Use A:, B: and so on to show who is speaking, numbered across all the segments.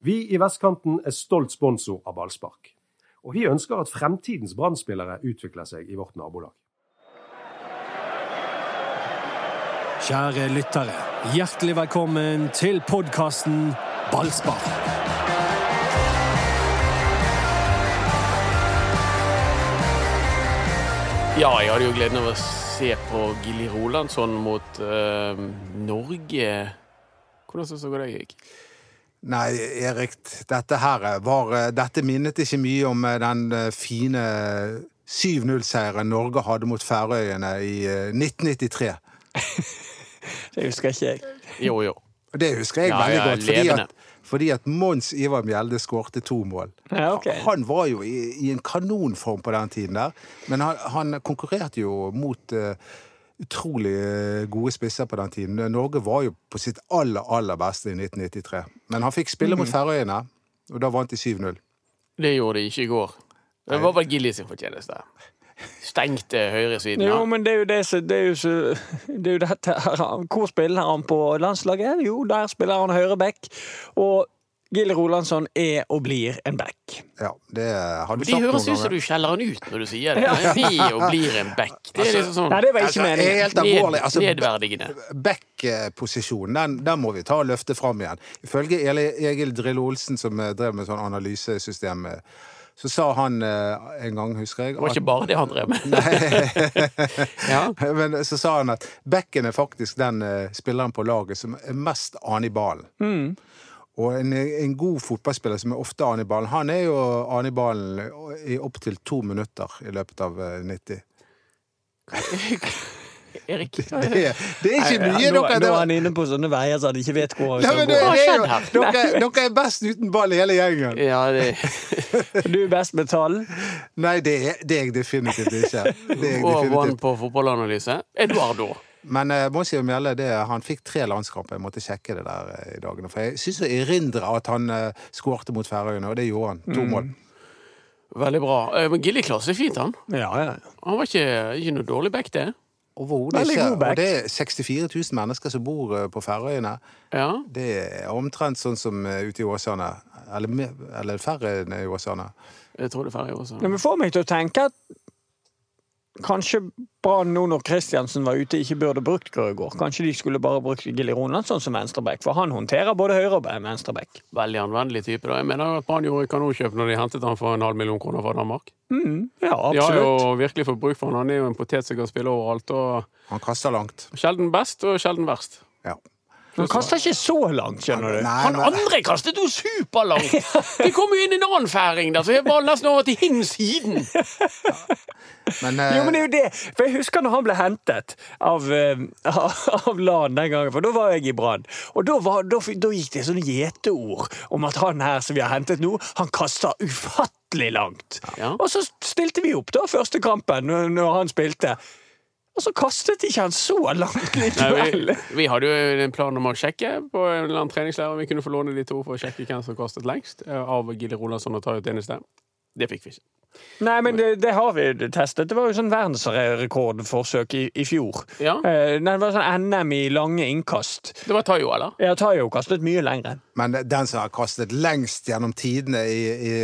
A: Vi i Vestkanten er stolt sponsor av ballspark. Og vi ønsker at fremtidens brannspillere utvikler seg i vårt nabolag.
B: Kjære lyttere, hjertelig velkommen til podkasten Ballspar.
C: Ja, jeg hadde jo gleden av å se på Gilly Rolandsson mot eh, Norge. Hvordan syns dere det gikk?
D: Nei, Erik, dette her var eh, Dette minnet ikke mye om eh, den fine eh, 7-0-seieren Norge hadde mot Færøyene i eh, 1993.
E: Det husker ikke jeg.
C: Jo, jo.
D: Og det husker jeg
C: Ja,
D: veldig
C: ja,
D: godt, fordi
C: levende.
D: at, fordi at Mons Ivar Mjelde skårte to mål.
E: Ja, ok.
D: Han var jo i, i en kanonform på den tiden der, men han, han konkurrerte jo mot eh, utrolig eh, gode spisser på den tiden. Norge var jo på sitt aller, aller beste i 1993. Men han fikk spille mot Færøyene, og da vant de 7-0.
C: Det gjorde de ikke i går. Det var vel Gilly sin fortjeneste. Stengte høyresiden.
E: Jo,
C: Ja.
E: men det er jo det som Det er jo, så- det er jo dette her. Hvor spiller han på landslaget? Jo, der spiller han høyre back. Og Gilly Rolandsson er og blir en back.
D: Ja, det har du
C: De
D: sagt noen
C: høres ut som
D: ganger.
C: du skjeller han ut når du sier det. Men de jo blir en back. Det er liksom
E: Nei,
C: sånn
E: det var ikke
D: Altså,
E: meningen.
D: helt alvorlig. Altså,
C: nedverdigende.
D: Back-posisjonen, den, den må vi ta og løfte fram igjen. Ifølge Eli- Egil Drillo Olsen, som eh, drev med sånn analysesystem, eh, så sa han eh, en gang, husker jeg
C: Det var ikke bare det han drev med. Ja.
D: at, men eh, så sa han at backen er faktisk den eh, spilleren på laget som er mest ane i ballen.
C: Mm.
D: Og en, en god fotballspiller som er ofte ane i ballen, han er jo ane i ballen i opptil to minutter i løpet av eh, 90.
C: Erik,
D: Det, er- det er ikke mye,
E: nå,
D: dere.
E: nå
D: det-
E: er han inne på sånne veier så han ikke vet hvor han
D: Nei,
E: skal
D: men det,
E: gå.
C: Hva har
D: det er
C: skjedd her?
D: jo, dere, dere er best uten ball, hele gjengen.
C: ja, det,
E: Du er best med tall.
D: Nei, det er, det er jeg definitivt ikke. Det er jeg
C: og vann
D: definitivt.
C: på fotballanalyse. Eduardo.
D: Men eh, Monsi og Mjelle, det, han fikk tre landskamper. Jeg måtte sjekke det der eh, i dagene. For jeg syns å erindre at han eh, skårte mot Færøyene, og det gjorde han. To mål.
C: Veldig bra. Eh, Men Gilly klarte seg fint, han.
E: Ja, ja.
C: Han var ikke, ikke noe dårlig back, det.
D: Overhodet
E: Veldig
D: ikke.
E: god back.
D: Og det er 64 000 mennesker som bor eh, på Færøyene.
C: Ja.
D: Det er omtrent sånn som eh, ute i Åsane. Eller, me- eller færre enn i Åsane.
C: Jeg tror det er ferdig også.
E: Ja, Men får meg til å tenke at kanskje Brann nå når Kristiansen var ute, ikke burde brukt Grøgaard. Kanskje de skulle bare brukt Gilly Ronlandsson som venstreback, for han håndterer både høyre og venstreback.
C: Veldig anvendelig type. da. Jeg mener jo at Brann gjorde kanonkjøp når de hentet han for en halv million kroner fra Danmark.
E: Mm, ja,
C: De har jo
E: absolutt.
C: virkelig fått bruk for han. Han er jo en potet som kan spille overalt. og
D: Han kaster langt.
C: Sjelden best og sjelden verst.
D: Ja.
E: Han kaster ikke så langt, skjønner du.
D: Nei,
C: Han
D: men-
C: andre kastet jo superlangt! Det kom jo inn en annen færing der, så jeg var nesten over til hin siden.
D: men, eh,
E: Jo, men det er jo det. For jeg husker når han ble hentet av, eh, av LAN den gangen, for da var jeg i Brann. Og da, var, da, da gikk det sånne gjeteord om at han her som vi har hentet nå, han kaster ufattelig langt.
C: Ja.
E: Og så stilte vi opp da første kampen, når- når han spilte. Og så kastet ikke han så langt
C: Nei, vi,
E: likevel.
C: vi hadde jo en plan om å sjekke på en eller annen treningsleir om vi kunne få låne de to for å sjekke hvem som kastet lengst eh, av Gille Rolandsson og Tayo Tjeneste. Det fikk vi ikke.
E: Nei, men det, det har vi testet. Det var jo sånn verdensrekordforsøk i, i fjor.
C: Ja.
E: Eh, nei, det var sånn NM i lange innkast.
C: Det var Tayo, eller?
E: Jeg har jo kastet mye lengre.
D: Men den som har kastet lengst gjennom tidene i, i,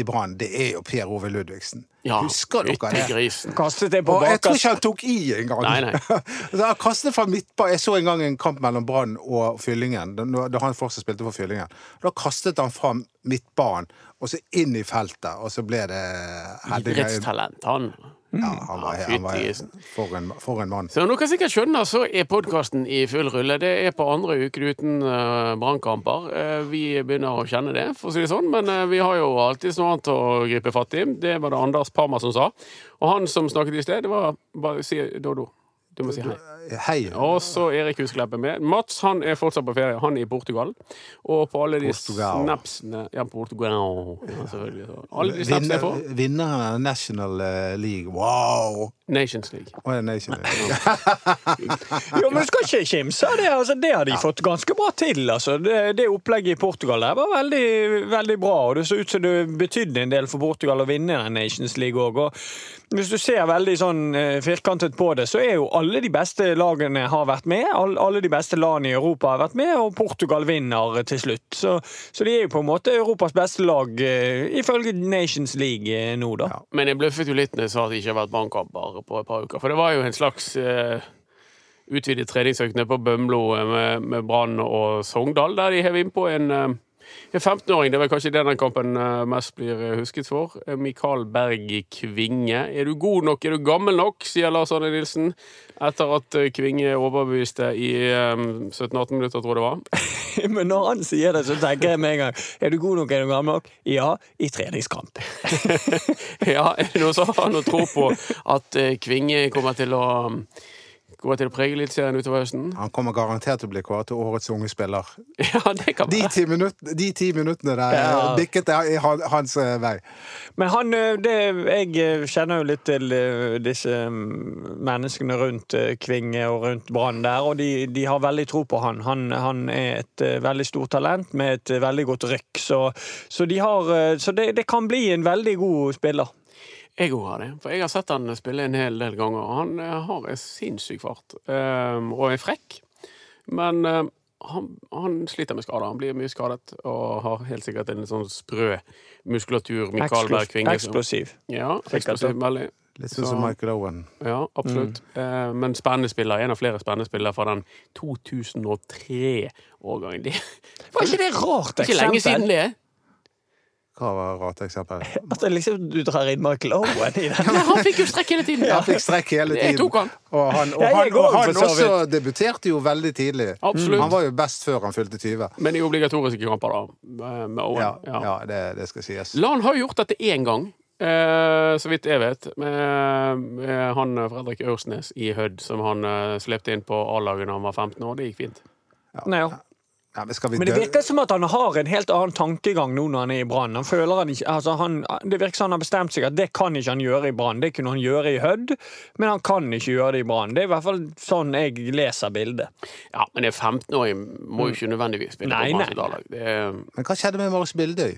D: i Brann, det er jo Per Ove Ludvigsen.
C: Ja.
D: Husker dere det?
C: Yttergrisen.
E: Kastet det på
D: Og jeg tror
E: bakerst.
D: ikke han tok i engang.
C: Nei, nei.
D: Så Han kastet fra midtbanen. Jeg så en gang en kamp mellom Brann og Fyllingen, da- da han fortsatt spilte for Fyllingen. Da kastet han fra midtbanen og så inn i feltet, og så ble det Ja,
C: Idrettstalent, han.
D: han var, han var
C: Fytti grisen.
D: for, en, for en mann.
C: Som dere sikkert skjønner, så er podkasten i full rulle. Det er på andre uken uten uh, brannkamper. Eh, vi begynner å kjenne det, for å si det sånn, men eh, vi har jo alltid noe annet å gripe fatt i. Det var det Anders Parma som sa. Og han som snakket i sted, det var bare si Dodo. Du må si hei.
D: Hei.
C: Og så Erik Husklepp er med. Mats han er fortsatt på ferie. Han er i Portugal. Og på alle de
D: Portugal.
C: snapsene Ja, Portugal. Ja, selvfølgelig. Alle de snapsene jeg
D: Vinner,
C: får.
D: vinner National eh, League. Wow!
C: Nations League.
D: Å, nei, ikke det.
E: Jo, men du skal ikke kimse av det. Altså, det har de fått ganske bra til. Altså. Det, det opplegget i Portugal der var veldig, veldig bra. og Det så ut som det betydde en del for Portugal å vinne den Nations League òg. Og hvis du ser veldig sånn eh, firkantet på det, så er jo alle de beste lagene har vært med. All, alle de beste landene i Europa har vært med, og Portugal vinner til slutt. Så, så de er jo på en måte Europas beste lag eh, ifølge Nations League eh, nå, da.
C: Men jeg bløffet jo litt når jeg sa at det ikke har vært brannkamper på et par uker. For det var jo en slags eh, utvidet treningsøkende på Bømlo eh, med, med Brann og Sogndal, der de hev innpå en, eh, en 15-åring. Det er vel kanskje det den kampen eh, mest blir eh, husket for. Eh, Mikael Berg Kvinge. Er du god nok, er du gammel nok, sier Lars Arne Nilsen. Etter at eh, Kvinge overbeviste i eh, 17-18 minutter, tror jeg det var.
E: Men når han sier det, så tenker jeg med en gang Er du god nok, er du gammel nok? Ja, i treningskamp.
C: Ja, nå så har han å tro på at eh, Kvinge kommer til å um, Kommer til å prege Eliteserien utover høsten?
D: Han kommer garantert til å bli kåret til årets unge spiller.
C: Ja, det kan
D: De
C: være.
D: ti, minutt, de ti minuttene der eh,
E: Ja.
D: bikket det i han- hans eh, vei.
E: Men han ø, det, Jeg ø, kjenner jo litt til ø, disse mm, menneskene rundt ø, Kvinge og rundt Brann der, og de, de har veldig tro på han. Han, han er et ø, veldig stort talent med et ø, veldig godt rykk, så, så, de har, ø, så det, det kan bli en veldig god spiller.
C: Jeg òg har det. For jeg har sett han spille en hel del ganger. og Han eh, har en sinnssyk fart, ehm, og er frekk. Men eh, han, han sliter med skader. Han blir mye skadet og har helt sikkert en litt sånn sprø muskulatur. Mikael Berg
E: Eksplos-
C: Kvinge. som-
E: Eksplosiv.
C: Ja,
E: Sikkert,
C: eksplosiv veldig.
D: Litt sånn
C: Så-
D: som Michael Owen.
C: Ja, absolutt.
E: Mm.
C: Eh, men spennende spiller. En av flere spennende spillere fra den 2003-årgangen. Det
E: Var ikke det et rart
C: er ikke lenge siden
E: eksempel?
C: det.
D: Hva var et rart eksempel?
E: At det liksom, du drar inn Michael Owen i den.
C: Men han fikk jo strekk hele tiden.
D: Han fikk strekk hele
C: Jeg
D: tiden.
C: tok han.
D: Og han, og
E: Jeg
D: han,
E: går
D: og han
E: for så vidt.
D: også debuterte jo veldig tidlig.
C: Absolutt.
D: Han var jo best før han fylte 20.
C: Men i obligatoriske kamper, da. eh, Med Owen.
D: Ja,
C: Ja.
D: ja det, det skal sies.
C: Lan har jo gjort dette én gang, eh, så vidt jeg vet. Med, med han eh, Fredrik Aursnes i Hødd, som han eh, slepte inn på A-laget da han var 15 år. Det gikk fint.
E: Nei, ja.
D: Ja, men skal vi
E: Men det
D: dø-
E: virker som at han har en helt annen tankegang nå når han er i Brann. Han føler han ikke, altså han, det virker som han har bestemt seg at det kan ikke han gjøre i Brann. Det kunne han gjøre i Hødd, men han kan ikke gjøre det i Brann. Det er i hvert fall sånn jeg leser bildet.
C: Ja, men en 15-åring må jo ikke nødvendigvis spille
E: Mm. Nei,
C: på
E: nei.
C: Brann sitt A-lag. Det er-
D: Men hva skjedde med Marius Bildøy?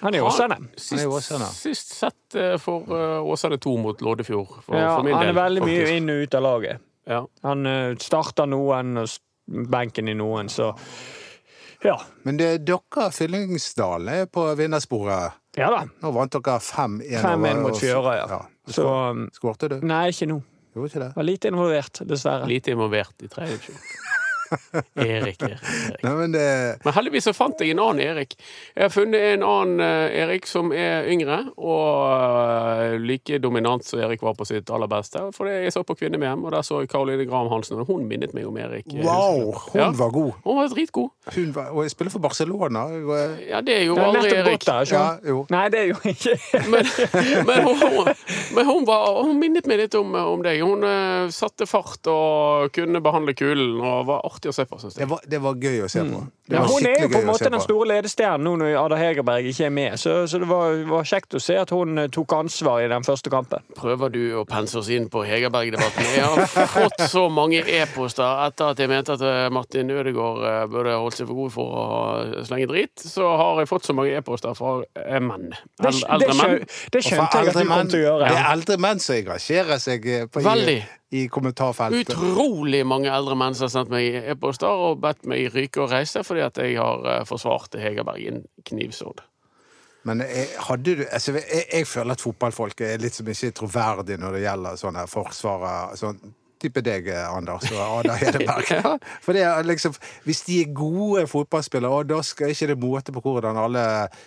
E: Han er jo også dem.
D: Han er jo
C: Sist,
D: Åsane.
C: sist sett eh, for eh, Åsane 2 mot Loddefjord, for,
E: Ja,
C: for min
E: han
C: del.
E: er veldig mye
C: faktisk.
E: inn og ut av laget.
C: Ja.
E: Han eh, starter noen og s- benken i noen, så ja.
D: Men det er dere, Fyllingsdalen, er på vinnersporet.
E: Ja da.
D: Nå vant dere 5-1
E: 5-1
D: over-
E: mot Fjøra, ja. Så um,
D: Skårte du?
E: Nei, ikke nå.
D: Gjorde ikke det?
E: Var lite involvert, dessverre.
C: Lite involvert i tredje divisjon. Erik, Erik, Erik.
D: Nei, men det
C: Men heldigvis så fant jeg en annen Erik. Jeg har funnet en annen eh, Erik som er yngre, og eh, like dominant som Erik var på sitt aller beste. For det- jeg så på Kvinne-VM, og der så jeg Caroline Graham Hansen, og hun minnet meg om Erik. eh,
D: Wow!
C: husker du?
D: Hun
C: Ja.
D: var god.
C: Hun var dritgod.
D: Hun var, og jeg spiller for Barcelona. Jeg var-
C: Ja, det er jo
E: Det er
C: aldri
E: nettopp
C: Erik.
E: gått der, ikke
D: Ja,
E: sant?
D: jo.
E: Nei, det er jo ikke
C: Men, men, hun, hun, men hun, var, hun minnet meg litt om, om deg. Hun eh, satte fart og kunne behandle kulen, og var artig å se på, syns jeg.
D: Det var, det var gøy å se på. Det
E: Ja,
D: var
E: hun er jo
D: skikkelig
E: på en
D: gøy å
E: måte
D: se
E: den
D: på.
E: store ledestjernen nå når Ada Hegerberg ikke er med, så, så det var, var kjekt å se at hun eh, tok ansvar i den første kampen.
C: Prøver du å pense oss inn på Hegerberg-debatten? Jeg har fått så mange e-poster etter at jeg mente at eh, Martin Ødegaard eh, burde holdt seg for god for å slenge drit. Så har jeg fått så mange e-poster fra eh, menn.
E: Det,
C: El-
E: det,
C: Eldre menn.
E: skjøn,
D: Og
E: det
D: for
E: skjønte jeg at
D: eldre
E: du kom
D: menn-
E: til å gjøre.
D: Det er eldre menn som engasjerer seg eh, på, i,
C: Veldig.
D: i kommentarfeltet.
C: Utrolig mange eldre menn som har sendt meg e-poster og bedt meg ryke og reise fordi at jeg har eh, forsvart Hegerberg i en knivsord.
D: Men jeg, hadde du altså, jeg, jeg føler at fotballfolk er litt som ikke troverdig når det gjelder sånne forsvarer. Sånn type deg, eh, Anders, og Ada Hedeberg. For det er liksom, hvis de er gode fotballspillere, og da skal ikke det måte på hvordan alle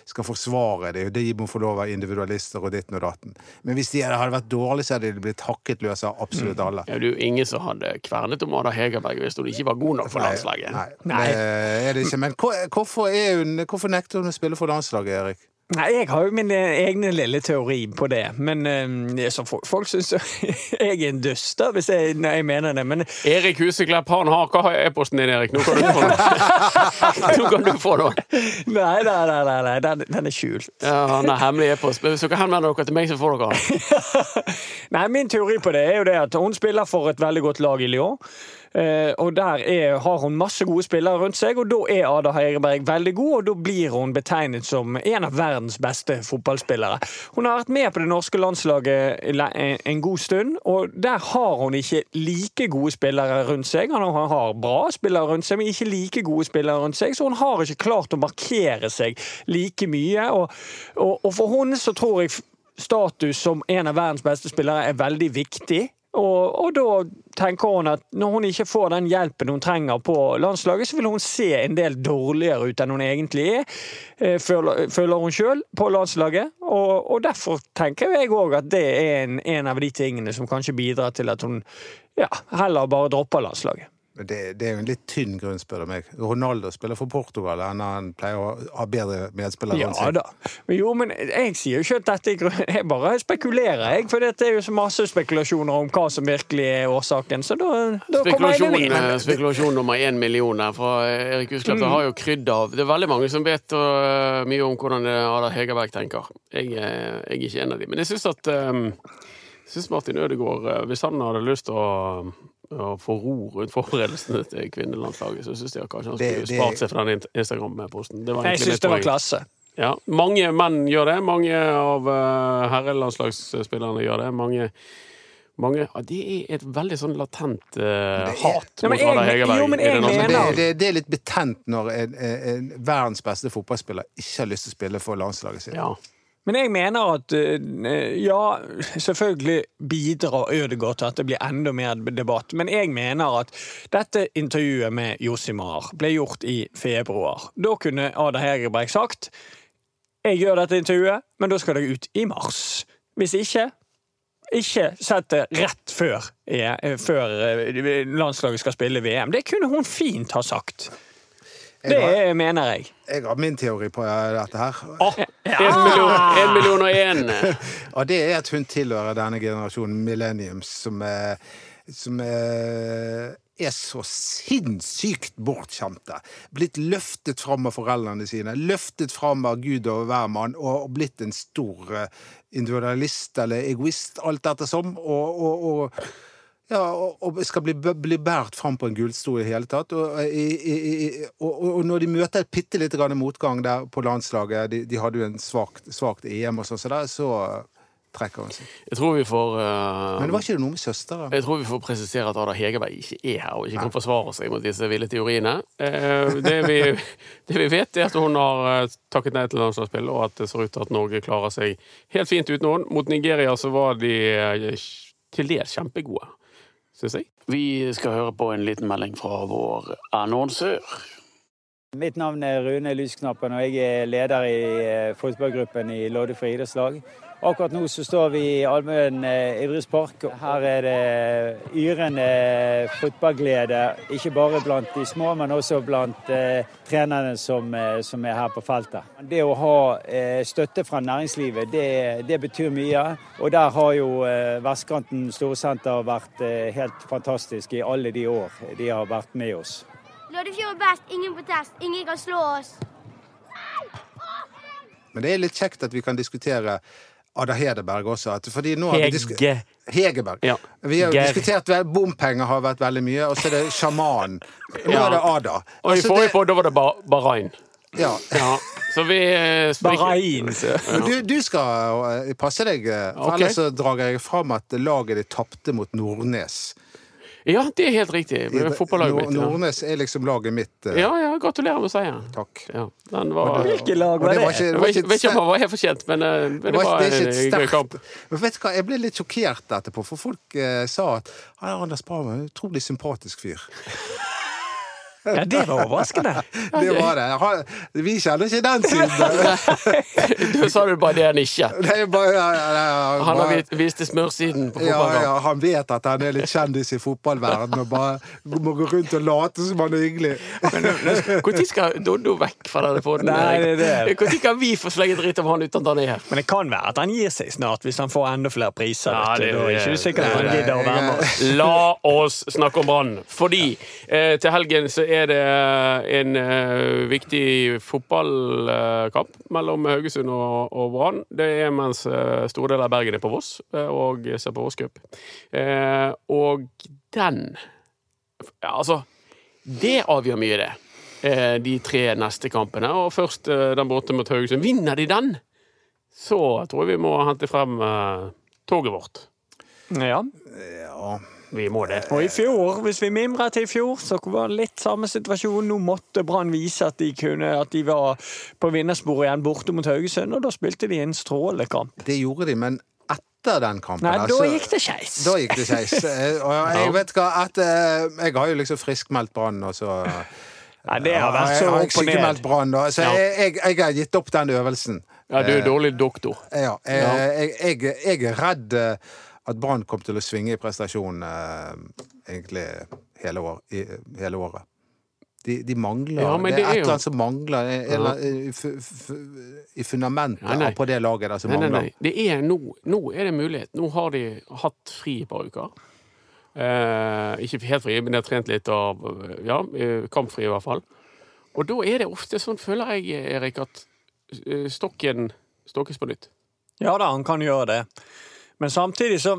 D: skal forsvare det. De må få lov av individualister og ditten og datten. Men hvis de hadde vært dårlige, så hadde de blitt hakket løs av absolutt alle.
C: Mm. Ja, det er jo ingen som hadde kvernet om Ada Hegerberg hvis hun ikke var god nok for landslaget.
D: Nei, det er det ikke. Men hvor, hvorfor, er hun, hvorfor nekter hun å spille for landslaget, Erik?
E: Nei, jeg har jo min eh, egen lille teori på det, men eh, det er så folk, folk syns jo jeg er en dust, da, hvis jeg, når jeg mener det. Men
C: Erik Huseklepp, han har Hva har e-posten din, Erik? Nå kan du få den. Nå kan du få den.
E: nei, nei, nei, nei, nei den, den er skjult.
C: Ja, han har hemmelig e-post. Men Hvis dere henvender dere til meg, så får dere den.
E: Nei, min teori på det er jo det at hun spiller for et veldig godt lag i Lyon. Eh, og der er, har hun masse gode spillere rundt seg, og da er Ada Heireberg veldig god, og da blir hun betegnet som en av verdens beste fotballspillere. Hun har vært med på det norske landslaget le- en- en god stund, og der har hun ikke like gode spillere rundt seg. Han har- har bra spillere rundt seg, men ikke like gode spillere rundt seg, så hun har ikke klart å markere seg like mye. Og, og, og for henne så tror jeg status som en av verdens beste spillere er veldig viktig. Og, og da tenker hun at når hun ikke får den hjelpen hun trenger på landslaget, så vil hun se en del dårligere ut enn hun egentlig er, eh, føler, føler hun sjøl, på landslaget. Og, og derfor tenker jeg òg at det er en, en av de tingene som kanskje bidrar til at hun ja, heller bare dropper landslaget.
D: Men Det, det er jo en litt tynn grunn, spør du meg. Ronaldo spiller for Portugal, enn han pleier å ha bedre medspillere rundt
E: Ja
D: seg.
E: da. Men Jo, men jeg sier jo ikke at dette er grunnen. Jeg bare spekulerer, jeg. For det er jo så masse spekulasjoner om hva som virkelig er årsaken. Så da, da kommer jeg
C: Spekulasjon,
E: med min.
C: eh, spekulasjon nummer én million her fra Erik Husklepp.
E: Mm.
C: Det har jo krydd av. Det er veldig mange som vet eh, mye om hvordan eh, Ada Hegerberg tenker. Jeg, eh, jeg er ikke en av dem. Men jeg syns at eh, jeg synes Martin Ødegaard, eh, hvis han hadde lyst til å å få ro rundt forberedelsene til kvinnelandslaget, så syns jeg kanskje han skulle
D: Det- det-
C: spart seg for den int- Instagram-posten. Det var
E: Jeg
C: egentlig
E: syns
C: mitt
E: det var
C: poeng.
E: klasse.
C: Ja, mange menn gjør det. Mange av eh, herrelandslagsspillerne gjør det. Mange, mange ja, Det er et veldig sånn latent eh,
D: Det er-
C: hat
E: Ja, men
C: mot Ada
E: jeg-
C: Hegerberg.
E: jo, men
C: i det
E: jeg
C: norske
D: Men det,
E: mener-
C: landslaget.
D: det, det er litt betent når en, en, en verdens beste fotballspiller ikke har lyst til å spille for landslaget sitt.
C: Ja.
E: Men jeg mener at eh, ja, selvfølgelig bidrar Ødegaard til at det blir enda mer debatt, men jeg mener at dette intervjuet med Josimar ble gjort i februar. Da kunne Ada Hegerberg sagt jeg gjør dette intervjuet, men da skal det ut i mars. Hvis ikke ikke sett det rett før, eh, før eh, landslaget skal spille VM. Det kunne hun fint ha sagt. Det
D: har-
E: eh, mener jeg.
D: Jeg har min teori på eh, dette her.
C: En million, en million og én.
D: Og det er at hun tilhører denne generasjonen millenniums som er, som er, er så sinnssykt bortskjemte. Blitt løftet fram av foreldrene sine, løftet fram av Gud og hvermann, og, og blitt en stor eh, individualist eller egoist, alt dette som. Og, og, og ja, og, og skal bli, bli båret fram på en gullstol i hele tatt. Og, eh, i, i, i, og, og- og når de møter et bitte lite grann motgang der på landslaget, de, de hadde jo en svakt, svakt EM og sånn, så der, så trekker hun seg.
C: Jeg tror vi får
D: Men det
C: eh,
D: var ikke noe med søsteren.
C: jeg tror vi får presisere at Ada Hegerberg ikke er her og ikke kan forsvare seg mot disse ville teoriene. Eh, Det vi, det vi vet, er at hun har eh, takket nei til landslagsspill, og at det ser ut til at Norge klarer seg helt fint uten henne. Mot Nigeria så var de eh, til dels kjempegode, syns jeg. Vi skal høre på en liten melding fra vår annonsør.
F: Mitt navn er Rune Lysknappen, og jeg er leder i eh, fotballgruppen i Loddefri idrettslag. Akkurat nå så står vi i Almøen eh, idrettspark. Her er det yrende fotballglede, ikke bare blant de små, men også blant eh, trenerne som, eh, som er her på feltet. Det å ha eh, støtte fra næringslivet, det, det betyr mye. Og der har jo eh, Vestkanten Storsenter vært eh, helt fantastisk i alle de år de har vært med oss.
G: Loddefjord er best. Ingen protest. Ingen kan slå oss.
D: Men det er litt kjekt at vi kan diskutere Ada Hedeberg også. At, fordi nå har vi disku- Hegeberg.
C: Ja.
D: Vi har jo
C: Ger.
D: diskutert vel, Bompenger har vært veldig mye, og så er det sjaman. Nå
C: Ja.
D: er det Ada.
C: Og i
D: Altså,
C: forrige
D: det-
C: podd, da var det Ba- Bahrain.
D: ja.
C: Ja, så vi eh, spriker-
E: Bahrain. sier jeg.
D: Men du, du skal eh, passe deg, eh, for
C: Ok.
D: ellers så drar jeg fram at laget ditt tapte mot Nordnes.
C: Ja, det er helt riktig. Men Fotballaget
D: Nor-
C: mitt. Ja.
D: Nordnes er liksom laget mitt. eh,
C: ja, ja, gratulerer med seieren.
D: Takk.
C: Ja, den var
E: Hvilket lag var
D: Og
E: det?
D: var ikke-
C: jeg
D: det var
C: vet
D: ikke
C: ikke- vet ikke om
D: et
C: han var helt fortjent, men eh,
D: Det
C: det
D: var,
C: var
D: ikke- det er
C: en
D: ikke et
C: gøy kamp.
D: sterkt Men vet du hva, Jeg ble litt sjokkert etterpå, for folk eh, sa at han Anders Brahm er en utrolig sympatisk fyr.
E: Ja, det var overraskende.
D: Det var det. Jeg har- Vi kjenner ikke den siden.
C: Du sa du bare det han ikke.
D: Det er bare, ja, ja, ja,
C: Han har
D: bare-
C: vist, vist til smørsiden på
D: ja,
C: fotballkamp.
D: ja, han vet at han er litt kjendis i fotballverdenen og bare må gå rundt og late som han er hyggelig.
C: Når skal Doddo vekk fra denne poden?
E: Nei, det er det.
C: Når kan vi få slenge dritt om han uten at han er her?
E: Men det kan være at han gir seg snart, hvis han får enda flere priser.
C: Ja,
E: vet du.
C: det-
E: da er ikke du sikker at han
D: Nei, nei,
E: gidder å være med oss.
C: La oss snakke om Brann. Fordi eh, til helgen så er det en eh, viktig fotballkamp eh, mellom Haugesund og, og Brann. Det er mens eh, store deler av Bergen er på Voss eh, og ser på Voss Cup. Eh, og den ja, Altså, det avgjør mye, det. Eh, de tre neste kampene. Og først eh, den borte mot Haugesund. Vinner de den, så tror jeg vi må hente frem eh, toget vårt.
E: Ja.
C: Vi må det.
E: Og i fjor, hvis vi mimrer til i fjor, så var det litt samme situasjon. Nå måtte Brann vise at de, kunne, at de var på vinnersporet igjen borte mot Haugesund, og da spilte de en strålekamp.
D: Det gjorde de, men etter den kampen
E: Nei, da
D: altså-
E: gikk det skeis.
D: Da gikk det skeis. Eh, Og jeg vet hva, at, eh, jeg har jo liksom friskmeldt Brann, og så
E: Nei, det har vært
D: jeg
E: så
D: har jeg
E: opp og ned.
D: sykemeldt Brann, da. Så
C: Ja.
D: jeg, jeg, jeg har gitt opp den øvelsen.
C: Ja, du er dårlig doktor.
D: Ja, jeg, jeg, jeg, jeg er redd eh, at Brann kom til å svinge i prestasjonen eh, egentlig hele, år, i, hele året. De, de mangler
C: Ja, men
D: Det
C: det
D: er,
C: er
D: et
C: jo-
D: eller annet som mangler en- en eller eh, annen- i, fu- fu- i fundamentet
C: Nei, nei.
D: på det laget der som
C: Nei, nei,
D: mangler.
C: nei. Det er nå, nå er det mulighet. Nå har de hatt fri et par uker. Eh, ikke helt fri, men de har trent litt av Ja, eh, kampfri i hvert fall. Og da er det ofte sånn, føler jeg, Erik, at eh, stokken stokkes på nytt.
E: Ja da, han kan gjøre det. Men samtidig så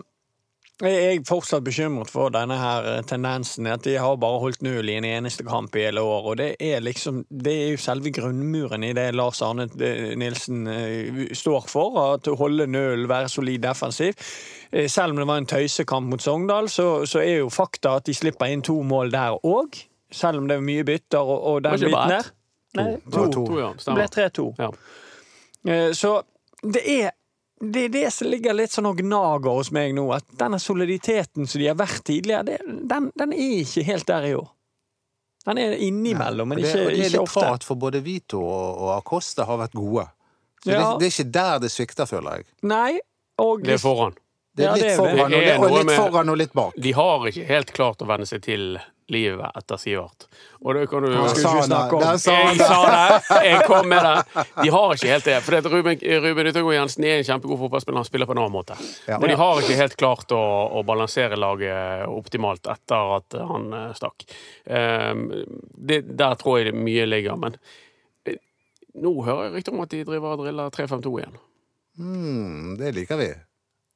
E: er jeg fortsatt bekymret for denne her eh, tendensen at de har bare holdt null i en eneste kamp i hele år. Og det er liksom Det er jo selve grunnmuren i det Lars Arne eh, Nilsen eh, står for. At å holde null, være solid defensiv. Eh, Selv om det var en tøysekamp mot Sogndal, så, så er jo fakta at de slipper inn to mål der òg. Selv om det er mye bytter og, og den
C: Var ikke det bare
E: biten
C: ett?
E: der. Nei,
D: Det var
E: to.
C: To, ja.
E: Det ble
C: Stemmer.
E: 3-2.
C: Ja.
E: Eh, Så det er det er det som ligger litt sånn og gnager hos meg nå, at denne soliditeten som de har vært tidligere, det, den, den er ikke helt der i år. Den er innimellom, men
D: Og det,
E: ikke,
D: og det er
E: ikke
D: litt
E: ofte.
D: rart, for både Vito og, og Acosta har vært gode. Så
E: Ja.
D: det, det er ikke der det svikter, føler jeg.
E: Nei, og
C: Det er foran.
D: Det er
E: Ja,
D: litt
E: det er det.
D: foran, og,
C: Det
D: det,
C: er
D: og
C: noe
D: litt
C: med-
D: foran og litt bak.
C: De har ikke helt klart å venne seg til livet etter Sivert. Og det kan du
D: Der
E: skulle
D: sa
E: ikke
D: han
E: snakke om.
D: det. Der sa
C: Jeg
D: han
C: sa
D: det.
C: det! Jeg kom med det. De har ikke helt det. For det at Ruben, Ruben Yttergård Jensen er en kjempegod fotballspiller, han spiller på en annen måte.
D: Ja.
C: Men de har ikke helt klart å, å balansere laget optimalt etter at han eh, stakk. Ehm, det, der tror jeg det mye ligger. Men eh, nå hører jeg rykter om at de driver og driller 3-5-2 igjen.
D: Mm, det liker vi.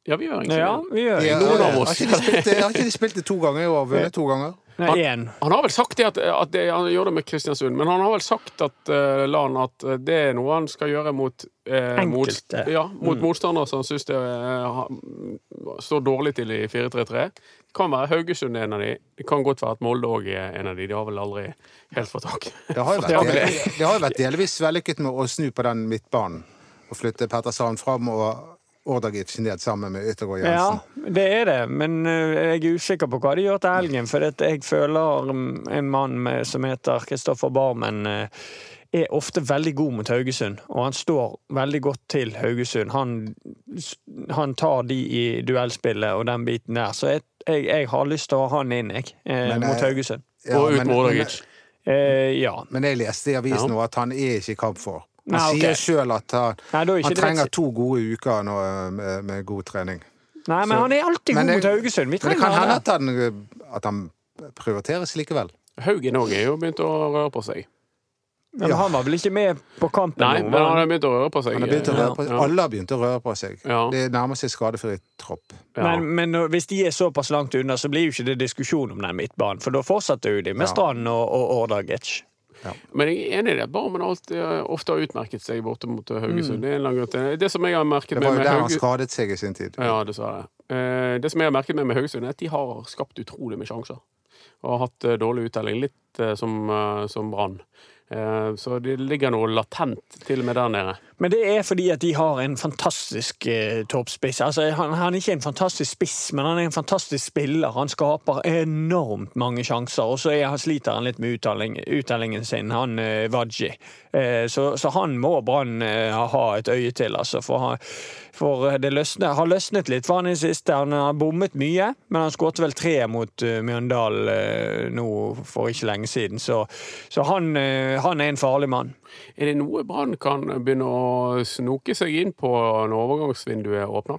C: Ja, vi gjør egentlig
E: Ja,
C: det.
E: vi gjør
D: Ja,
E: det.
C: noen av
D: har
C: oss.
D: ikke de spilt det- har ikke de spilt det to ganger i år? Vunnet to ganger?
E: Nei, én.
C: Han har vel sagt det at, at det, han gjør det med Kristiansund, men han har vel sagt at eh, Lan at eh, det er noe han skal gjøre mot eh,
E: Enkelte.
C: ja, mot
D: Mm.
C: motstandere som han syns det eh, ha- står dårlig til i 4-3-3. Det kan være Haugesund er en av de. Det kan godt være at Molde òg er en av de. De har vel aldri helt fått tak.
D: Det har jo
C: Ja,
D: vært,
C: men
D: det, det har jo vært delvis vellykket med å snu på den midtbanen og flytte Petter Sand fram og Ordagic ned sammen med Yttergård
E: Ja,
D: Jensen.
E: det er det, men eh, jeg er usikker på hva de gjør til helgen. For at jeg føler mm, en mann med, som heter Kristoffer Barmen eh, er ofte veldig god mot Haugesund, og han står veldig godt til Haugesund. Han, s- han tar de i duellspillet og den biten der, så jeg, jeg, jeg har lyst til å ha han inn, jeg, eh,
D: Men,
E: mot
D: eh,
E: Haugesund.
D: Ja,
C: og ut
D: men-
C: med
D: men-
C: Ordagic.
E: Eh, ja.
D: Men jeg leste i avisen nå at han er ikke i kampform. Han
E: Nei, ok.
D: sier sjøl at han,
E: Nei, da er ikke
D: han
E: det-
D: trenger to gode uker nå eh, med, med god trening.
E: Nei, men han er alltid
D: Men
E: god
D: det-
E: mot Haugesund. Vi
D: Men det kan
E: trenger
D: hende
E: han.
D: at han, eh, at han prioriteres likevel.
C: Haugen òg er jo begynt å røre på seg.
E: Men
D: Ja.
E: han var vel ikke med på kampen?
C: Nei,
E: nå,
C: men
E: var
C: han
E: han?
C: har begynt å røre på seg.
D: Han har begynt å røre på,
C: Ja.
D: alle har begynt å røre på seg.
C: Ja.
D: Det nærmer seg skadefri tropp.
C: Ja.
E: Men, men når- hvis de er såpass langt unna, så blir jo ikke det diskusjon om den midtbanen. For da fortsetter jo de med Strand og, og Ordagic.
C: Men jeg er enig i det. Barmen har alltid, eh, ofte har utmerket seg borte mot eh, Haugesund. Det er en lang rute. Det som jeg har merket
D: Mm. Det
C: meg
D: var jo
C: med
D: der han
C: Hauge-
D: skadet seg i sin tid.
C: Ja, dessverre. Eh, Det som jeg har merket meg med Haugesund, er at de har skapt utrolig med sjanser. Og har hatt eh, dårlig uttelling. Litt litt eh, som, eh, som Brann. Eh, Så det ligger noe latent til og med der nede.
E: Men det er fordi at de har en fantastisk eh, toppspiss. Altså, han, han er ikke en fantastisk spiss, men han er en fantastisk spiller. Han skaper enormt mange sjanser, og så er, han sliter han litt med uttelling, uttellingen sin, han eh, Wadji. Eh, så, så han må Brann eh, ha et øye til, altså. For, han, for det løsne, har løsnet litt for han i det siste. Han har bommet mye, men han skåret vel tre mot eh, Mjøndalen eh, nå for ikke lenge siden, så, så han, eh, han er en farlig mann.
C: Er det noe Brann kan begynne å snoke seg inn på når overgangsvinduet åpner?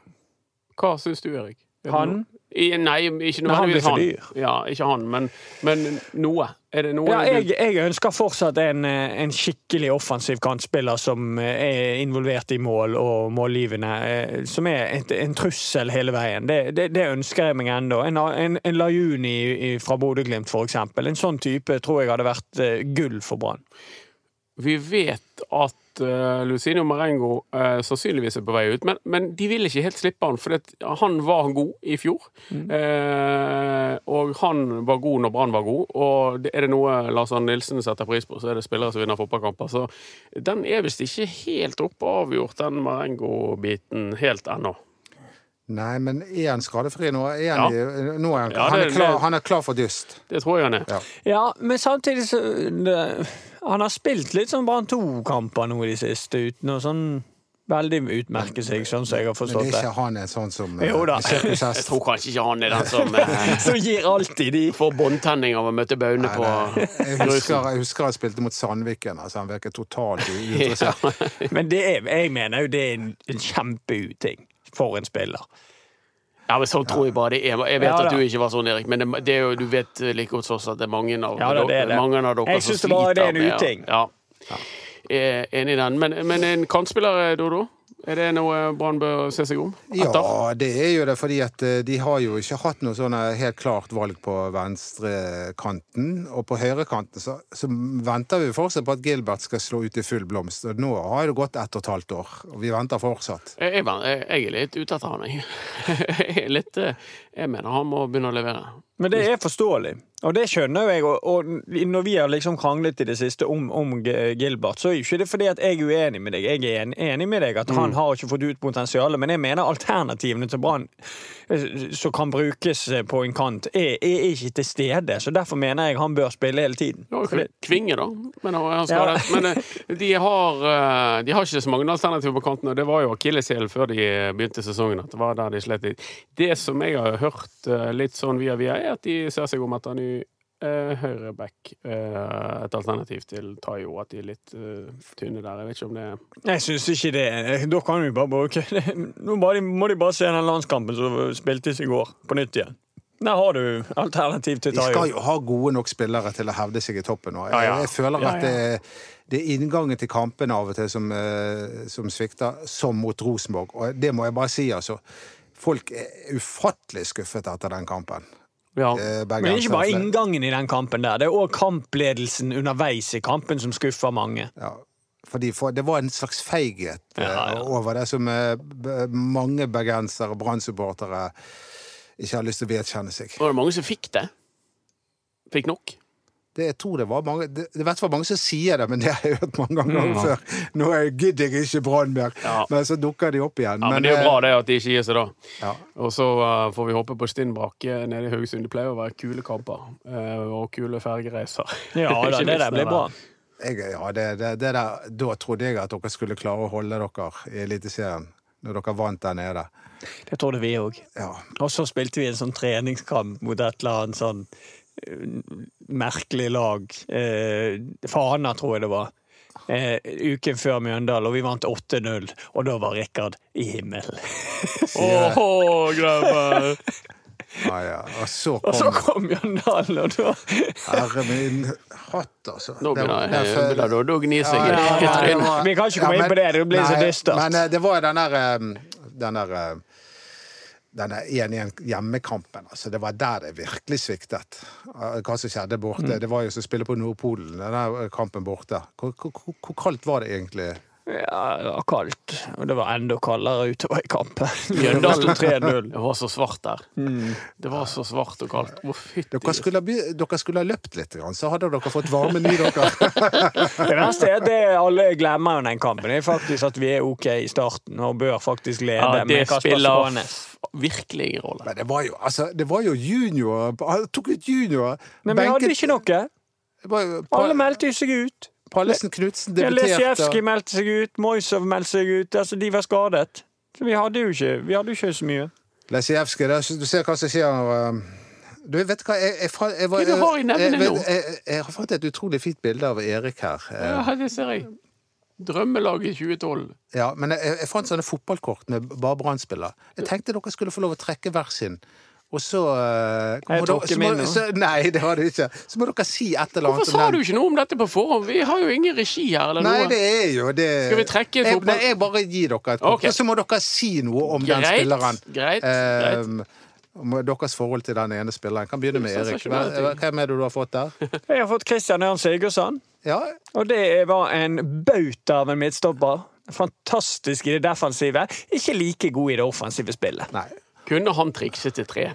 C: Hva syns du, Erik? Er det
E: Han?
C: noe- I, nei, ikke
E: Nei, han blir
C: nødvendigvis
E: for
C: han.
E: dyr.
C: Ja, ikke han, men, men noe. Er det noe
E: Ja,
C: du-
E: jeg, jeg ønsker fortsatt en, eh, en skikkelig offensiv kantspiller som eh, er involvert i mål og mållivene. eh, Som er et, en trussel hele veien. Det, det, det ønsker jeg meg ennå. En, en, en Lajuni i- fra Bodø-Glimt, f.eks. En sånn type tror jeg hadde vært eh, gull for Brann.
C: Vi vet at eh, Lucinio Marengo eh, sannsynligvis er på vei ut, men, men de vil ikke helt slippe han, for det, han var god i fjor. Eh, og han var god når Brann var god, og det, er det noe Lars Arne Nilsen setter pris på, så er det spillere som vinner fotballkamper. Så den er visst ikke helt oppe og avgjort, den Marengo-biten, helt ennå.
D: Nei, men er han skadefri nå? Er han, i, nå er han,
C: Ja,
D: han,
C: det-
D: er klar, han er klar for dyst.
C: Det tror jeg han er.
D: Ja.
E: Ja, men samtidig så det, Han har spilt litt sånn Brann 2-kamper nå i det siste, uten å sånn veldig utmerke seg, sånn som jeg
D: Men
E: har
D: det
E: forstått
D: er
E: det.
D: ikke han en sånn som eh,
E: Jo da.
D: sirkushest.
C: Tror kanskje ikke han er den som eh,
E: Som gir alltid de
C: får båndtenning av å møte Baune på
D: Jeg husker, jeg husker jeg spilte mot Sandviken. Altså, han virket totalt uinteressert.
E: Men det er, jeg mener jo det er en, en kjempeuting for en spiller.
C: Ja, men sånn tror jeg bare det er. Jeg vet
E: Ja,
C: at
E: da.
C: du ikke var sånn, Erik, men det, det er jo, du vet eh, like godt som oss at det er mange av,
E: Ja, da, det er det.
C: Mange av dere
E: Jeg
C: som
E: synes det bare det er en
C: sliter med-
E: uting.
C: Ja. Jeg er enig i den. Men, men en kantspiller, eh, Dodo? Er det noe Brann bør se seg om etter?
D: Ja, det er jo det, fordi at eh, de har jo ikke hatt noe sånn eh, helt klart valg på venstrekanten. Og på høyrekanten så, så venter vi fortsatt på at Gilbert skal slå ut i full blomst. Og nå har det gått ett og et halvt år, og vi venter fortsatt.
C: Eh, Jeg, jeg, jeg er litt ute etter han, jeg. Jeg, er litt, eh, jeg mener han må begynne å levere.
E: Men det er forståelig, og det skjønner jo jeg. Og, og når vi har liksom kranglet i det siste om, om G- Gilbert, så er jo ikke det fordi at jeg er uenig med deg. Jeg er en, enig med deg at han har ikke fått ut potensialet, men jeg mener alternativene til Brann eh, som kan brukes eh, på en kant, er, er ikke til stede. Så derfor mener jeg han bør spille hele tiden.
C: Det var jo
E: Fordi-
C: Kvinge, da. Men, han- han skal
E: Ja.
C: ha det. men eh, de, har, eh, de har ikke så mange alternativer på kanten, og det var jo akilleshælen før de eh, begynte sesongen. at Det var der de slet litt. Det som jeg har hørt eh, litt sånn via via, er at de ser seg om etter en ny eh, høyreback. eh, et alternativ til Tayo, at de er litt eh, tynne der. Jeg vet ikke om det
E: Jeg syns ikke det. Eh, Da kan vi bare bruke Nå bare, må de bare se den landskampen som spiltes i går, på nytt igjen. Der har du alternativ til
D: De skal
E: Tayo.
D: jo ha gode nok spillere til å hevde seg i toppen. Og jeg,
E: ja.
D: jeg føler
E: Ja,
D: at det, det er inngangen til kampene av og til som, eh, som svikter, som mot Rosenborg. Og det må jeg bare si, altså. Folk er ufattelig skuffet etter den kampen.
C: ja.
D: Eh,
E: Men det er ikke bare
D: bergenserne.
E: inngangen i den kampen der. Det er òg kampledelsen underveis i kampen som skuffer mange.
D: Ja. Fordi for, det var en slags feighet eh,
E: Ja, ja.
D: over det som eh, b- mange bergensere og Brann-supportere ikke har lyst til å vedkjenne seg.
C: Var det mange som fikk det? Fikk nok?
D: Det, jeg tror det var mange det, det vet jeg var mange som sier det, men det har jeg hørt mange ganger før. Nå er jeg- gidder jeg ikke Brann mer.
C: Mm, Ja.
D: Men så dukker de opp igjen.
C: Ja, men, det er
D: eh,
C: jo bra det at de ikke gir seg, da.
D: Ja.
C: Og så eh, får vi håpe på stinn brakke nede i Haugesund. Det pleier å være kule kamper eh, og kule fergereiser.
E: Ja da,
C: Ikke
E: det der
C: minst
E: blir bra.
D: Jeg, ja, det, det, det der, da trodde jeg at dere skulle klare å holde dere i Eliteserien, når dere vant der nede.
E: Det trodde vi òg.
D: Ja.
E: Og så spilte vi en sånn treningskamp mot et eller annet sånn eh, merkelig lag. Eh, Fana, tror jeg det var. Eh, uken før Mjøndalen, og vi vant 8-0. Og da var Rikard i himmelen.
C: Åh, grabber!
D: Ja, ja. Og så
E: Og så
D: kom
E: kom Mjøndalen, og da
D: Herre min hatt, altså.
C: Nå
D: Det-
C: begynner
D: det føler-
C: jeg eh, å gni seg i
E: ja, ja,
C: trynet.
E: det var- Vi kan ikke komme inn på det, det blir så
D: nei,
E: dystert.
D: Men eh, det var jo den der eh, den der eh, denne 1-1 hjemmekampen, altså. Det var der det virkelig sviktet. Eh, Hva som skjedde
E: Mm.
D: eh, borte. Det var jo som å spille på Nordpolen, den der kampen borte. Hvor, hvor, hvor- hvor kaldt var det egentlig?
E: Ja, det var kaldt. Og det var enda kaldere utover i kampen. Mjøndalen sto 3-0.
C: Det var så svart der. Det var så svart og kaldt. Å, fytti
D: Dere skulle, ha be- dere skulle ha løpt litt, grann, så hadde dere fått varmen i dere.
E: Det verste er at det alle glemmer under den kampen, Det er faktisk at vi er OK i starten og bør faktisk lede.
C: Ja,
E: med
C: det
E: Kasper
C: spiller
E: Skånes.
C: f- virkelig ingen rolle.
D: Men det var jo, altså, det var jo junior. Han tok ut junior.
E: Men vi hadde ikke noe.
D: Det var jo- Pa-
E: Alle meldte jo seg ut.
D: Pallesen Knutsen
E: Lesijevskij
D: debuterte.
E: meldte seg ut, Moisov meldte seg ut. Altså, de var skadet. Så vi hadde jo ikke, vi hadde jo ikke så mye.
D: Lesijevskij, det er- du ser hva som skjer. når, eh, Du vet du hva, jeg, jeg, fa- jeg, var-
C: Hva er det du har i
D: jeg,
C: nevene
D: jeg-
C: nå?
D: jeg, jeg har fått et utrolig fint bilde av Erik her. Eh,
C: Ja, det ser jeg. Drømmelaget 2012.
D: Ja, men jeg, jeg fant sånne fotballkort med bare Brann-spillere. Jeg tenkte dere skulle få lov å trekke hver sin. Og så eh,
E: Jeg
D: må
E: tok
D: dere- så
E: ikke
D: må-
E: min nå.
D: så, Nei, det har du ikke. Så må dere si et eller
C: Hvorfor
D: annet.
C: sa du ikke noe om dette på forhånd? Vi har jo ingen regi her eller
D: Nei, det
C: noe.
D: er jo det
C: Skal vi trekke
D: jeg,
C: fotball-
D: nei, jeg bare gir dere et kort,
C: Ok.
D: og så må dere si noe om den
C: Greit,
D: spilleren.
C: greit,
D: Eh, om deres forhold til den ene spilleren. Kan begynne med
C: Det er
D: Erik. Hva-
C: sensasjonelle ting.
D: Hvem er det du har fått der?
E: Jeg har fått Christian Ørn Sigurdsson.
D: Ja,
E: Og det var en bauta av en midtstopper. Fantastisk i det defensive. Ikke like god i det offensive spillet.
D: nei.
C: Kunne han trikse til tre?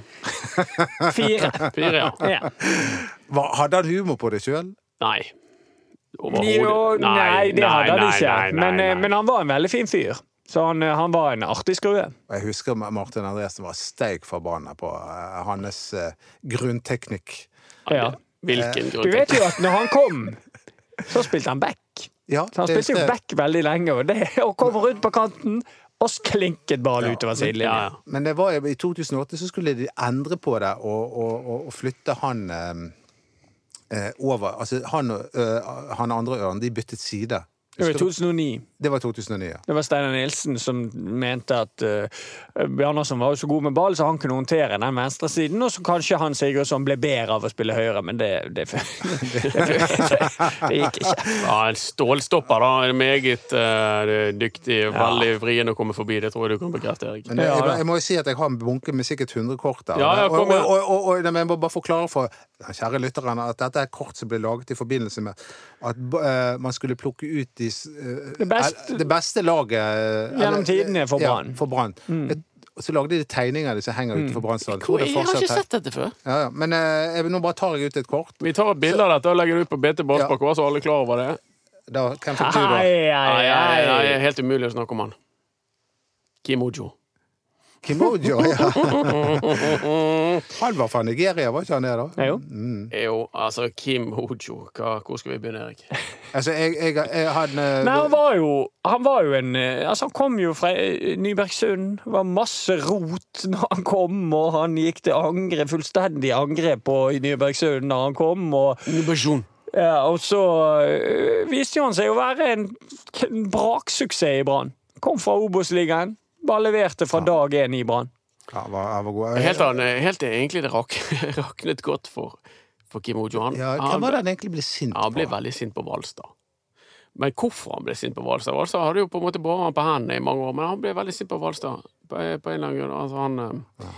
E: Fire.
C: Fire, ja.
E: Ja.
D: Hva, hadde han humor på det sjøl?
C: Nei.
E: Jo,
C: Overhodet.
E: nei, det hadde han
C: nei,
E: ikke.
C: nei, nei,
E: Men, eh,
C: nei.
E: men han var en veldig fin fyr. Så han, eh, han var en artig skrue.
D: Jeg husker Martin Andresen var steik forbanna på eh, hans eh, grunnteknikk.
E: Ja.
C: Hvilken
E: Du
C: grunn
E: vet
C: til
E: jo at når han kom, så spilte han back.
D: Ja,
E: Så han
D: det er
E: spilte jo
D: det.
E: back veldig lenge, og, det, og kom rundt på kanten, og sklinket ballen utover
C: ja, ja.
E: sidelinjen.
D: Men det var, jo- i 2008 så skulle de endre på det og, og, og, og flytte han eh, eh, over. Altså han, og, eh, han andre ørnen, de byttet side.
E: Det var i 2009.
D: Det var 2009. ja.
E: Det var Steinar Nilsen som mente at eh, Bjarnason var jo så god med ball, så han kunne håndtere den venstresiden, og så kanskje han Sigurdsson ble bedre av å spille høyre, men det, det, det, det, gikk ikke.
C: Ja, en stålstopper, da. En meget eh, dyktig, veldig vrien å komme forbi. Det tror jeg du kan bekrefte, Erik.
D: Men det, jeg,
E: Ja,
D: må-
E: da.
D: jeg må jo si at jeg har en bunke med sikkert 100 kort der.
C: Ja, ja,
D: og, og,
C: kom igjen.
D: og, og, og, nei, men jeg må bare forklare for den kjære lytteren at dette er kort som ble laget i forbindelse med at eh, man skulle plukke ut de, s- eh,
E: Det beste-
D: eh, det beste laget eh,
E: Gjennom
D: eller-
E: tidene for Brann.
D: Ja, for Brann. Et- Og så lagde de tegninger av de som henger ute for Brann stadion. Tror det
C: Jeg har
D: fortsatt
C: ikke
D: her.
C: sett dette før.
D: Ja, ja. Men eh, jeg, nå bare tar jeg ut et kort.
C: Vi tar et bilde av dette og legger det ut på BT Ballspark, så alle er klar over det.
D: Da, hvem fikk du,
E: Ai,
D: da?
E: ai,
C: Nei, nei, nei, det
E: ai.
C: er helt umulig å snakke om han. Kimojo.
D: Kimojo, ja. Han var fra Nigeria, var ikke han det, da?
E: Ja, jo.
C: Jo, altså Kimojo Hva- Hvor skal vi begynne, Erik?
D: Altså, jeg, jeg, jeg han eh,
E: Nei, han var jo, han var jo en eh, Altså, han kom jo fra eh, Nybergsund. Det var masse rot når han kom, og han gikk til angrep, fullstendig angrep på Nybergsund når han kom, og
C: Nubajon.
E: Ja, og så øh, viste jo han seg å være en, en braksuksess i Brann. Kom fra Obos-ligaen, bare leverte fra dag én i Brann.
D: Ja, han var, han var god.
C: Helt, an- helt egentlig det rak, raknet godt for, for Kimojo. Han,
D: Ja,
C: han,
D: hvem var det han egentlig ble sint
C: han ble
D: på?
C: veldig sint på Hvalstad. Men hvorfor han ble sint på Hvalstad? Hvalstad hadde jo på en måte båret han på hendene i mange år, men han ble veldig sint på Hvalstad. På, på en eller annen grunn. Altså, han eh,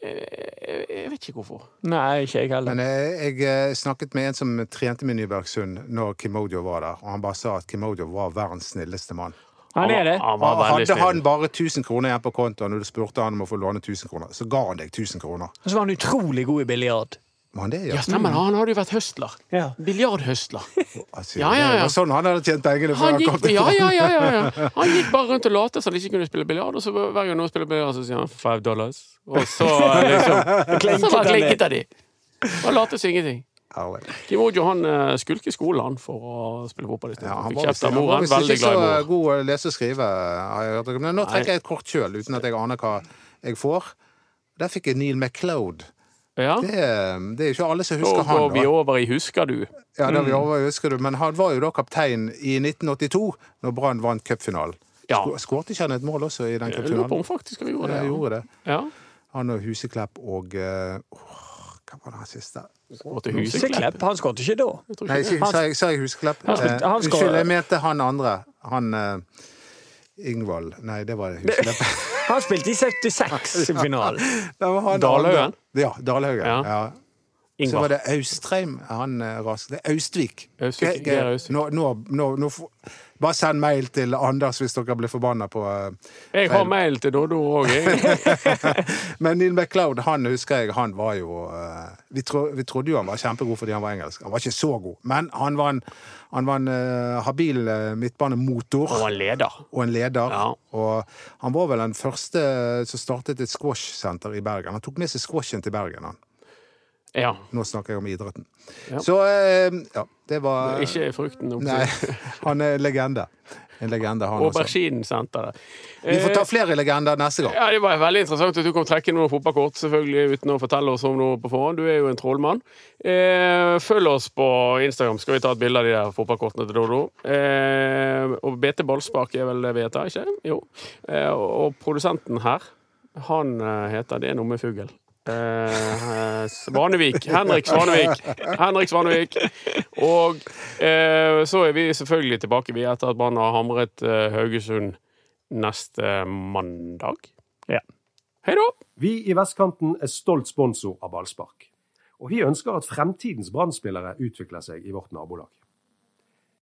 C: jeg, jeg vet ikke hvorfor.
E: Nei, ikke jeg heller.
D: Men jeg, jeg eh, snakket med en som trente med Nybergsund når Kimojo var der, og han bare sa at Kimojo var verdens snilleste mann.
E: Han er det.
C: Han var veldig
D: hadde han
C: snill.
D: bare 1000 kroner igjen på kontoen, og du spurte han om å få låne 1000 kroner, så ga han deg 1000 kroner.
E: Og så var han utrolig god i biljard.
D: Var han det, ja?
C: Ja, stemmer det. Han hadde jo vært høstler.
E: Ja.
C: Biljardhøstler.
D: Altså,
C: Ja, ja, ja.
D: Det var sånn han hadde tjent pengene før
C: Han
D: han
C: gikk,
D: kom til
C: ja, ja, ja, ja, ja. han gikk bare rundt og lot som han ikke kunne spille biljard, og så hver gang noen spiller biljard, så sier han 'five dollars', og så eh, liksom
E: Klinket
C: Så bare
E: han
C: klinket av de. Og lot som ingenting.
D: Herlig.
C: Kim Ojo han eh, skulker skolen han for å spille fotball i stedet.
D: Ja, han
C: Fikk
D: var visst
C: kjeft av
D: han
C: mor.
D: var
C: Han
D: visst
C: er veldig
D: ikke så
C: glad i mor.
D: god å lese og skrive. har jeg hørt. Men nå trekker
C: Nei.
D: jeg et kort sjøl, uten at jeg aner hva jeg får. Der fikk jeg Neil MacLeod.
C: Ja.
D: Det, det er jo ikke alle som
C: Så
D: husker han.
C: går vi
D: da.
C: over Mm. i 'Husker du'.
D: Ja, det vi over, husker du. Men han var jo da kaptein i 1982, når Brann vant cupfinalen.
C: Ja.
D: Sko- Skårte ikke han et mål også i den
C: Jeg lurer på om
D: cupfinalen?
C: faktisk han gjorde
D: Ja,
C: det.
D: han
C: Ja.
D: gjorde det.
C: Ja.
D: Han og Huseklepp og eh, åh, Hva var det han siste?
C: Og til Huseklepp.
E: Huseklepp, han skåret ikke da.
C: Jeg tror
D: Nei,
C: ikke det.
D: ikke- sa jeg, sa jeg Huseklepp?
E: Han spilte-
D: Eh,
E: han skåret.
D: unnskyld, jeg mente han andre. Han eh, Ingvald Nei, det var Huseklepp.
E: Han spilte i 76 i finalen.
D: Det var han
C: Dalhaugen?
D: andre. Ja, Dalhaugen.
C: Ja.
D: Ja. Så var
C: Ingvar.
D: det Austreim han eh, raste. Det er Austvik.
C: Austvik,
D: Ge- ge-
C: det er Austvik.
D: Nå, nå, nå, nå f- Bare send mail til Anders hvis dere blir forbanna på eh,
C: Jeg har mail til Doddo òg, jeg.
D: Men Neil MacLeod, han husker jeg, han var jo eh, vi, tro, vi trodde jo han var kjempegod fordi han var engelsk. Han var ikke så god, men han var en, han var en eh, habil eh, midtbanemotor.
C: Og han leder.
D: og en leder.
C: Ja.
D: Og han var vel den første som startet et squashsenter i Bergen. Han tok med seg squashen til Bergen. Han.
C: Ja.
D: Nå snakker jeg om idretten.
C: Ja.
D: Så eh, ja, det var
C: Ikke frukten opp
D: Nei, han er legende. En legende, han sånn. også.
C: Auberginesenteret.
D: Vi får ta flere legender neste gang.
C: Ja, Det var veldig interessant at du kom trekkende noen fotballkort selvfølgelig uten å fortelle oss om noe på forhånd. Du er jo en trollmann. Eh, følg oss på Instagram, skal vi ta et bilde av de der fotballkortene til Dodo. Eh, og BT Ballspark er vel det vi heter, ikke? Jo. Eh, og produsenten her, han eh, heter Det er noe med fugl. Eh, Svanevik. Henrik Svanevik. Henrik Svanevik. Og eh, så er vi selvfølgelig tilbake vi etter at Brann har hamret eh, Haugesund neste mandag.
E: Ja.
C: Hei da!
A: Vi i Vestkanten er stolt sponsor av Ballspark. Og vi ønsker at fremtidens Brann-spillere utvikler seg i vårt nabolag.